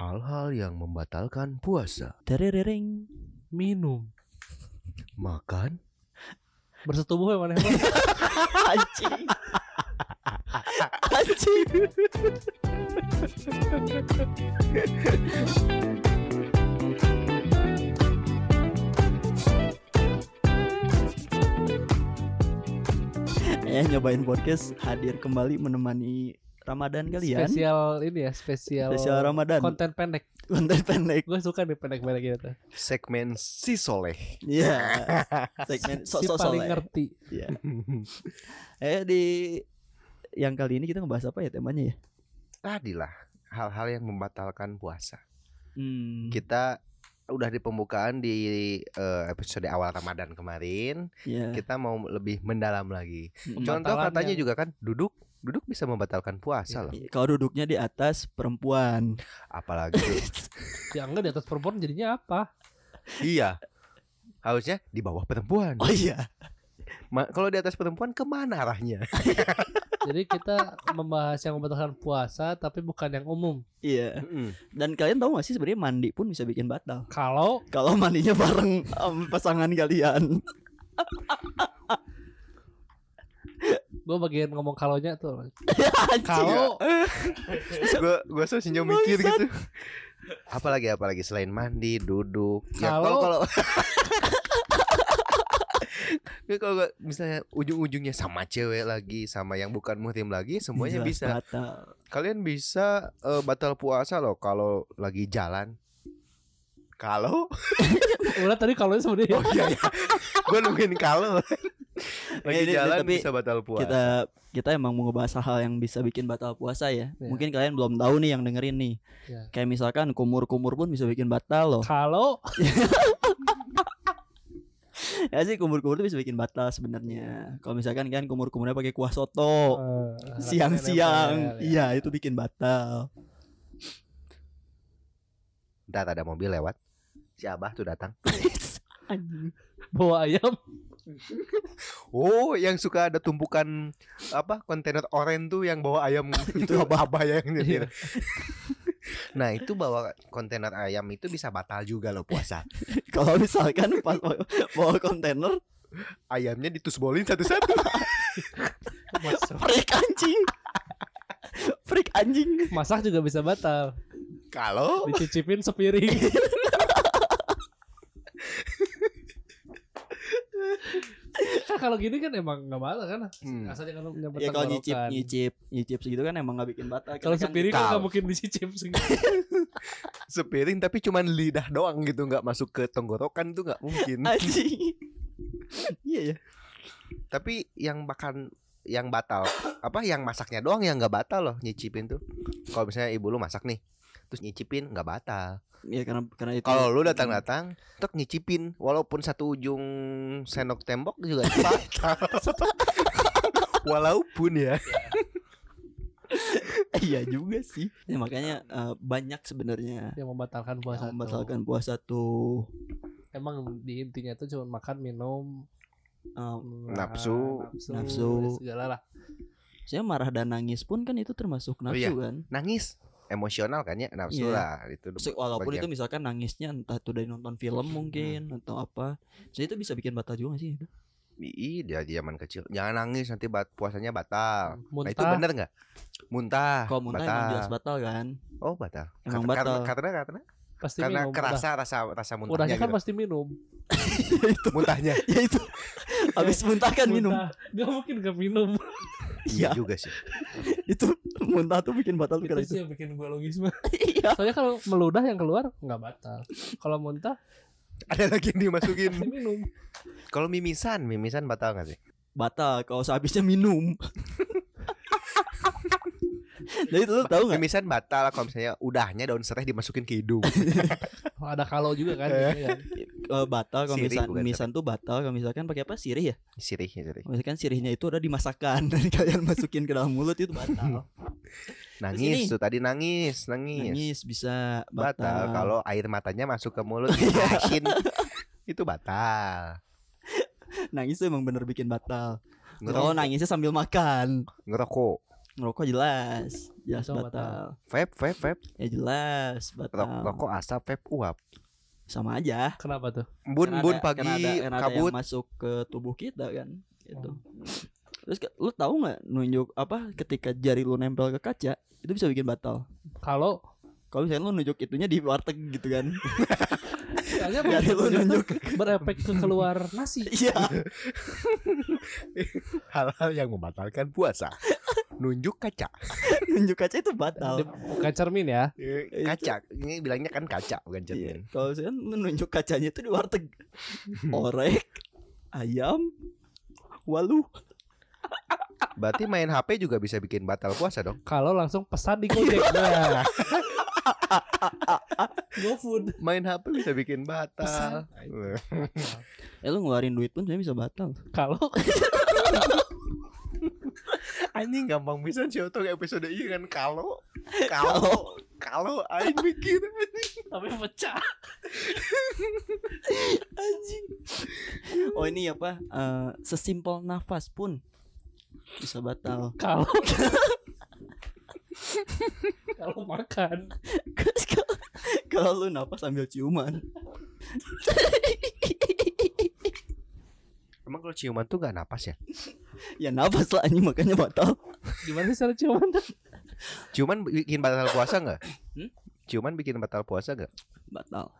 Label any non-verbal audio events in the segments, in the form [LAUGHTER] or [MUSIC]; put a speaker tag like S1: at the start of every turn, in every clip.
S1: hal-hal yang membatalkan puasa.
S2: Terereng.
S3: minum
S1: Makan,
S3: bersetubuh yang mana [LAUGHS]
S2: [LAUGHS] Anjing. Anjing. Ya nyobain podcast hadir kembali menemani Ramadan kalian.
S3: spesial ini ya spesial,
S2: Spesial Ramadan.
S3: konten pendek
S2: Konten pendek.
S3: gue suka nih pendek-pendek gitu
S1: segmen si soleh.
S2: [LAUGHS]
S3: [LAUGHS]
S2: Iya. Segmen
S3: si
S2: sok-sok
S3: paling
S2: soleh.
S3: ngerti
S2: Iya. Eh di yang kali ini kita ngebahas apa ya temanya ya?
S1: Tadilah hal-hal yang membatalkan puasa.
S2: Hmm.
S1: Kita udah di pembukaan di eh, episode awal Ramadan kemarin,
S2: ya.
S1: kita mau lebih mendalam lagi.
S2: Mm.
S1: Contoh
S3: Pembatalannya.
S1: katanya juga kan duduk Duduk bisa membatalkan
S2: Iya.
S1: puasa loh,
S2: Kalau duduknya di atas perempuan.
S1: apalagi
S2: [LAUGHS]
S3: ya enggak di atas perempuan jadinya apa
S1: iya harusnya di bawah perempuan.
S2: Oh iya.
S1: Ma- kalau di atas perempuan kemana arahnya?
S3: jadi kita [LAUGHS] membahas yang membatalkan puasa tapi bukan yang umum
S2: Iya. Dan kalian tahu gak sih sebenarnya mandi pun bisa bikin batal.
S3: kalau
S2: Kalau mandinya bareng em, pasangan kalian.
S3: gue bagian ngomong kalonya tuh
S2: Anjing. Iya.
S3: kalau
S1: gue gue tuh senyum mikir gitu apalagi apalagi selain mandi duduk ya kalau
S3: Kalau-
S1: kalau [LAUGHS] Ya, kalau nggak, misalnya ujung-ujungnya sama cewek lagi sama yang bukan muhrim lagi semuanya
S2: Jelas
S1: bisa
S2: Batal.
S1: kalian bisa eh, batal puasa loh kalau lagi jalan kalau [LAUGHS]
S3: udah tadi kalau sebenarnya
S1: oh iya, iya. gue nungguin
S2: [LAUGHS]
S1: kalau lagi
S2: Ini- ini
S1: jalan
S2: tapi
S1: bisa batal puasa
S2: Kita kita emang mau ngebahas hal yang bisa bikin batal puasa ya.
S3: Iya.
S2: Mungkin kalian belum tahu nih yang dengerin nih.
S3: Iya.
S2: Kayak misalkan kumur-kumur pun bisa bikin batal loh.
S3: kalau
S2: Ya sih kumur-kumur tuh bisa bikin batal sebenarnya. Kalau misalkan kan kumur-kumurnya pakai kuah soto
S3: eh,
S2: Oh.
S3: [LAUGHS]
S2: siang-siang.
S3: nempel, ya.
S2: Iya, itu bikin batal.
S1: Ntar ada mobil lewat si abah tuh datang
S2: Anjing.
S3: bawa ayam
S1: Oh, yang suka ada tumpukan apa kontainer oren tuh yang bawa ayam [LAUGHS] itu abah-abah yang
S2: Iya.
S1: nyetir. Nah, itu bawa kontainer ayam itu bisa batal juga loh puasa.
S2: Kalau misalkan pas bawa- bawa kontainer
S1: Ayamnya ditusbolin satu-satu.
S3: masak,
S2: Freak anjing Freak anjing
S3: masak juga bisa batal
S1: [LAUGHS] Kalau
S3: dicicipin sepiring kan [LAUGHS] kalau gini kan emang nggak batal kan
S1: Hmm.
S3: asal jangan nyamperin
S2: Ya kalau
S3: tenggorokan.
S2: nyicip Nyicip Nyicip segitu kan emang gak bikin batal
S3: kalau
S2: Karena kan-
S3: sepiring kan nggak
S1: Kal.
S3: mungkin dicicip
S2: [LAUGHS]
S1: sepiring tapi cuman lidah doang gitu nggak masuk ke tenggorokan tuh nggak
S3: hmm.
S1: mungkin.
S2: Anjing Iya ya
S1: tapi yang bahkan yang batal apa yang masaknya doang yang nggak batal loh nyicipin tuh. Kalau misalnya ibu lu masak nih terus nyicipin nggak batal.
S2: Iya karena karena itu
S1: Kalau lu datang-datang, tek nyicipin walaupun satu ujung sendok tembok juga
S2: [LAUGHS]
S1: batal. walaupun ya.
S2: Iya juga sih ya, Makanya eh, banyak sebenarnya
S3: yang membatalkan
S2: Yang
S3: puasa tuh.
S2: membatalkan puasa tuh
S3: emang di intinya tuh cuma makan minum
S2: Em,
S1: Nafsu.
S3: nafsu, ya
S2: Nafsu.
S3: segala lah
S2: Saya marah dan nangis pun kan itu termasuk
S1: Oh, iya.
S2: nafsu kan
S1: Nangis emosional kan ya nafsu
S2: Iya.
S1: lah itu.
S2: Se- Walaupun
S1: bagian. Hmm.
S2: itu misalkan nangisnya entah itu dari nonton film mungkin Atau apa Jadi itu bisa bikin batal juga gak sih itu?
S1: Ih, dia di zaman kecil. Jangan nangis nanti bat- puasanya
S2: Ah,
S1: batal. Nah,
S3: muntah
S1: itu benar nggak? Muntah.
S2: Kalau
S1: Ah,
S2: muntah
S1: batal.
S2: emang jelas batal kan
S1: Oh, batal. Kar-
S2: Emang batal.
S1: Karena karena karena,
S3: pasti
S1: karena
S3: minum
S1: kerasa rasa rasa
S3: udah
S1: muntahnya.
S3: kan
S1: gitu.
S3: pasti minum
S1: muntahnya.
S2: ya itu habis muntah kan minum
S3: Muntah. nggak mungkin nggak minum
S1: Iya
S2: [LAUGHS] iya
S1: juga sih.
S2: itu muntah tuh bikin batal
S3: itu
S2: kali itu
S3: sih yang bikin gue logisme
S2: [LAUGHS] iya
S3: soalnya kalau meludah yang keluar nggak batal kalau muntah
S1: Ada lagi yang dimasukin.
S3: pasti minum
S1: Kalau mimisan, mimisan batal nggak sih?
S2: batal kalau sehabisnya minum [LAUGHS] jadi itu lu tahu nggak
S1: Mimisan batal kalau misalnya udahnya daun serai dimasukin ke hidung.
S3: Oh, ada kalau juga kan biasanya kan.
S2: eh, batal kalau
S1: Sirih
S2: misalkan
S1: bukan,
S2: mimisan tuh batal kalau misalkan pakai apa sirih ya
S1: sirih, sirih.
S2: Kalau misalkan sirihnya itu ada di [LAUGHS] masakan dan kalian masukin ke dalam mulut itu batal
S1: Nangis
S2: Sini.
S1: tuh tadi nangis, nangis.
S2: nangis bisa
S1: Batal,
S2: batal, Iya.
S1: kalau air matanya masuk ke
S2: [LAUGHS]
S1: mulut gitu, asin. itu batal.
S2: nangis tuh emang bener bikin batal
S1: Ngerokok,
S2: Oh, kalau nangisnya sambil makan
S1: ngerokok.
S2: Merokok jelas, jelas
S3: Merokok
S2: batal.
S1: vape vape vape
S2: Ya jelas
S1: Ro-
S2: batal.
S1: rokok asap vape uap
S2: Sama aja.
S3: Kenapa tuh?
S1: bun
S2: Kan
S1: bun
S2: ada-
S1: pagi
S2: kan ada, kan ada yang
S1: kabut
S2: masuk ke tubuh kita kan. Gitu. Terus ke- lu tahu nggak nunjuk apa ketika jari lu nempel ke kaca itu bisa bikin batal.
S3: Kalau
S2: Kalau misalnya lu nunjuk itunya di warteg gitu [LAUGHS] kan.
S3: soalnya
S2: jari lu
S3: menunjuk-
S2: [LAUGHS] nunjuk.
S3: berefek ke keluar nasi.
S2: Iya.
S1: hal-hal yang membatalkan
S2: [LAUGHS]
S1: puasa nunjuk kaca
S2: nunjuk kaca itu batal.
S3: Di- Bukan cermin ya.
S1: Eh,
S2: Iya, Itu.
S1: kaca ini bilangnya kan kaca bukan
S2: Iya.
S1: cermin
S2: Kalau misalnya lu nunjuk kacanya itu di [LAUGHS] warteg. Orek, ayam, walu.
S1: berarti main HP juga bisa bikin batal puasa dong
S3: Kalau langsung pesan di Gojek. [LAUGHS] Nah. GoFood.
S1: main HP bisa bikin batal
S2: Eh lu ngeluarin duit pun sebenarnya bisa batal.
S3: Kalau
S1: anjing gampang bisa sih untuk episode ini kan kalau kalau kalau aing mikir
S3: tapi pecah.
S2: Anjing. Oh ini apa? eh, sesimpel nafas pun bisa batal.
S3: Kalau [LAUGHS] kalau makan
S2: Kalau lu nafas sambil ciuman.
S1: emang kalau ciuman tuh gak napas ya
S2: ya nafas lah anjing makanya batal.
S3: gimana sih cara ciuman?
S1: ciuman bikin batal puasa nggak
S2: Hmm?
S1: ciuman bikin batal puasa nggak
S2: Batal.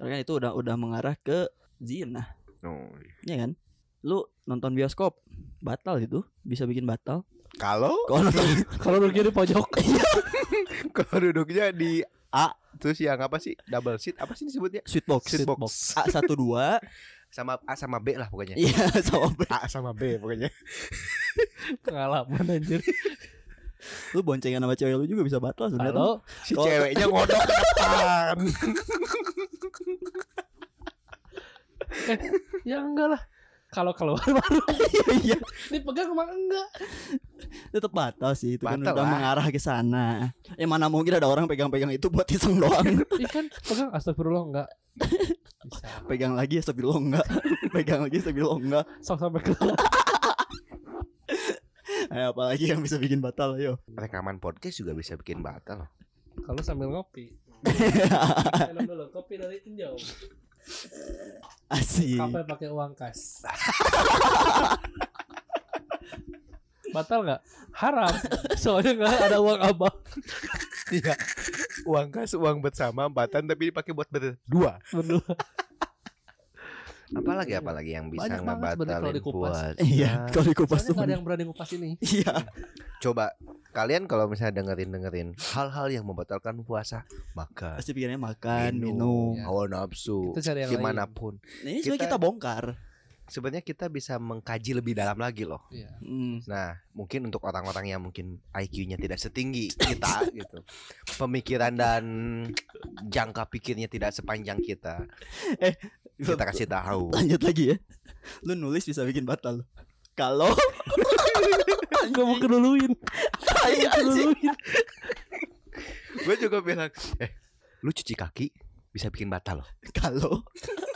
S2: Karena kan itu udah udah mengarah ke zina,
S1: Oh,
S2: ya kan? Lu nonton bioskop batal itu bisa bikin batal.
S1: kalau [LAUGHS]
S2: Kalau nonton
S3: Kalau duduknya di pojok.
S1: kalau duduknya di A terus yang apa sih double seat apa sih disebutnya
S2: sweet box.
S1: seat box
S2: A12
S1: sama A sama B lah pokoknya
S2: Iya sama ber-
S1: A sama B pokoknya
S3: Pengalaman anjir.
S2: Lu boncengan sama cewek lu juga bisa batal sebenarnya
S3: Kalau
S1: [LAUGHS] si
S2: Kalau-
S1: ceweknya ngodok ke [LAUGHS] depan
S3: ya enggak lah. Kalau keluar baru
S2: [LAUGHS] Iya
S3: dipegang mah enggak.
S2: Tetep batal sih Itu kan
S1: Batal
S2: udah
S1: lah.
S2: mengarah ke sana Ya mana mungkin ada orang pegang-pegang itu buat iseng
S3: [LAUGHS]
S2: doang
S3: Ih kan pegang astagfirullah [LAUGHS] enggak. Bisa.
S2: Pegang lagi ya lo enggak [LAUGHS] Pegang lagi ya lo enggak
S3: Sok sampai keluar.
S2: Eh, Apalagi yang bisa bikin batal ayo
S1: rekaman podcast juga bisa bikin batal
S3: Kalau sambil ngopi. Minum dulu kopi dari tinjau.
S2: Asik
S3: Kafe pakai uang kas. Batal nggak? Haram. Soalnya nggak ada uang abang.
S1: iya uang kas uang bersama empatan tapi dipakai buat berdua
S3: Berdua.
S1: apalagi apalagi yang bisa
S3: Iya. Banyak banget sebenarnya
S1: ngebatalin
S3: kalau dikupas. [LAUGHS]
S1: puasa
S2: Iya Kalau dikupas
S3: Soalnya
S2: tuh
S3: nggak ada
S2: bener.
S3: yang berani ngupas ini.
S2: Iya
S1: coba kalian kalau misalnya dengerin dengerin hal-hal yang membatalkan puasa makan
S2: Pasti pikirannya makan Minum
S3: Iya.
S1: hawa nafsu
S3: Kita cari yang lain.
S1: gimana pun
S2: Nah, Ini sebenarnya
S1: Kita-
S2: kita bongkar
S1: sebenarnya kita bisa mengkaji lebih dalam lagi loh
S3: Iya.
S2: Hmm.
S1: nah mungkin untuk orang-orang yang mungkin IQ-nya tidak setinggi
S3: [LAUGHS]
S1: kita gitu pemikiran dan jangka pikirnya tidak sepanjang kita
S3: Eh,
S1: kita kasih
S3: [LAUGHS]
S1: tahu
S2: Lanjut lagi ya Lu nulis bisa bikin batal
S3: [LAUGHS]
S2: Kalau
S3: Gue mau keduluin.
S2: Iya, anjing.
S3: Keduluin.
S1: gue juga bilang eh lu cuci kaki bisa bikin batal loh
S2: Kalau [LAUGHS]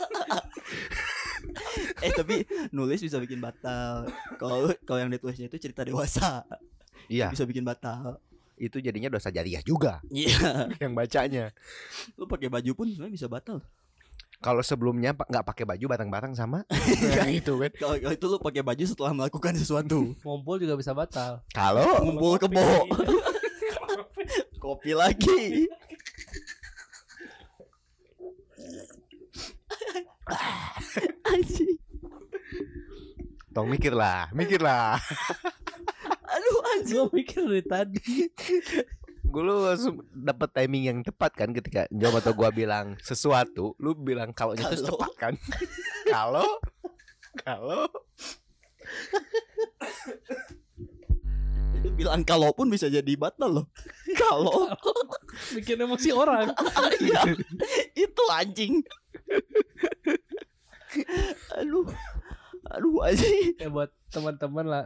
S2: Eh tapi nulis bisa bikin batal. Kalau kalau yang ditulisnya itu cerita dewasa
S1: iya
S2: bisa bikin batal.
S1: itu jadinya dosa jariah juga
S2: Iya.
S1: [LAUGHS] yang bacanya
S2: Lu pakai baju pun sebenarnya bisa batal.
S1: kalau sebelumnya pa- nggak pakai baju bareng-bareng sama
S2: [LAUGHS] Iya.
S1: yang itu kan
S2: Kalau kalau itu lu pakai baju setelah melakukan sesuatu.
S3: Ngumpul juga bisa batal.
S1: kalau
S2: Ngumpul kebo. Kopi lagi. anjing.
S1: tong mikirlah mikirlah
S2: Aduh anjing.
S3: Gue mikir dari tadi.
S1: gue lu langsung dapet timing yang tepat kan ketika jawab atau gua bilang sesuatu lu bilang kalau itu
S2: Kalau.
S1: tepat
S2: [LAUGHS]
S1: kan kalau kalau
S2: Itu bilang kalau pun bisa jadi [LAUGHS] batal loh. Kalau
S3: [LAUGHS] Bikin emosi orang.
S2: Iya, itu anjing. aduh, aduh anjing.
S3: Ya buat teman-teman lah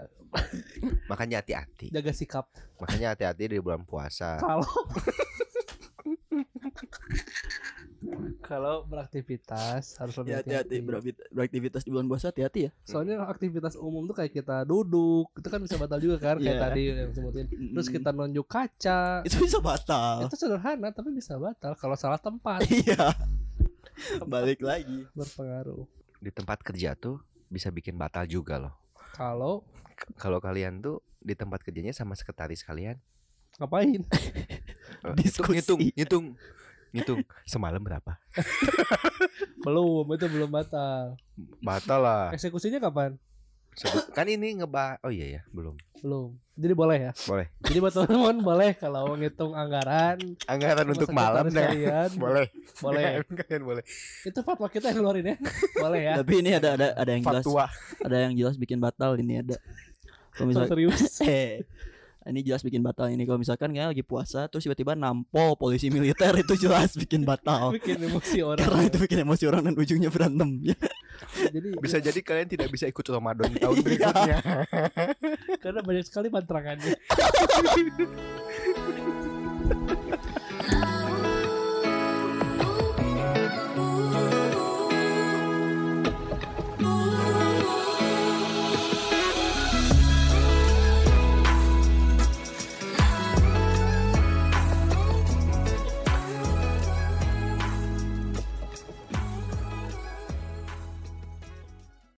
S1: makanya hati-hati
S3: jaga sikap.
S1: makanya hati-hati di bulan puasa
S3: Kalau kalau beraktivitas harus
S2: Ya,
S3: lebih
S2: hati-hati
S3: hati-hati.
S2: berakti- beraktivitas di bulan puasa hati-hati ya.
S3: Soalnya aktivitas umum tuh kayak kita duduk, itu kan bisa batal juga kan kayak
S2: Iya.
S3: tadi yang sebutin. Terus
S2: Mm.
S3: kita nunjuk kaca.
S2: Hmm. itu bisa
S1: Iya.
S2: batal. [LAUGHS]
S3: Itu sederhana tapi bisa batal kalau salah tempat
S2: Iya. Balik lagi.
S3: berpengaruh.
S1: di tempat kerja tuh bisa bikin batal juga loh.
S3: Kalau
S1: Kalau kalian tuh di tempat kerjanya sama sekretaris kalian
S3: ngapain? [LAUGHS]
S1: eh,
S2: Diskusi.
S1: ngitung ngitung ngitung semalam berapa?
S3: Belum, itu belum batal.
S1: Batal lah.
S3: Eksekusinya kapan?
S1: Sebut- Kan ini ngeba Oh iya ya, belum.
S3: Belum. Jadi boleh ya?
S1: Boleh.
S3: Jadi buat teman-teman boleh kalau ngitung anggaran
S1: Anggaran
S3: sama
S1: untuk malam deh.
S3: sekretaris kalian,
S1: [LAUGHS] Boleh.
S3: Boleh.
S1: Kalian boleh.
S3: Itu fatwa kita yang keluarin ya. [LAUGHS] Boleh ya.
S2: Tapi ini ada ada ada yang jelas
S1: Fatwa.
S2: ada yang jelas bikin batal ini ada. Kalau
S3: So
S2: misalkan
S1: [LAUGHS]
S3: serius.
S2: Eh, ini jelas bikin batal ini kalau misalkan kayak lagi puasa terus tiba-tiba nampol polisi militer itu jelas bikin batal.
S3: Bikin emosi orang.
S2: Karena itu bikin emosi orang dan ujungnya berantem. Ya,
S3: Jadi
S1: Bisa jadi kalian tidak bisa ikut
S2: [LAUGHS]
S1: Ramadan
S2: Iya.
S1: di tahun berikutnya.
S3: karena banyak sekali panterangannya.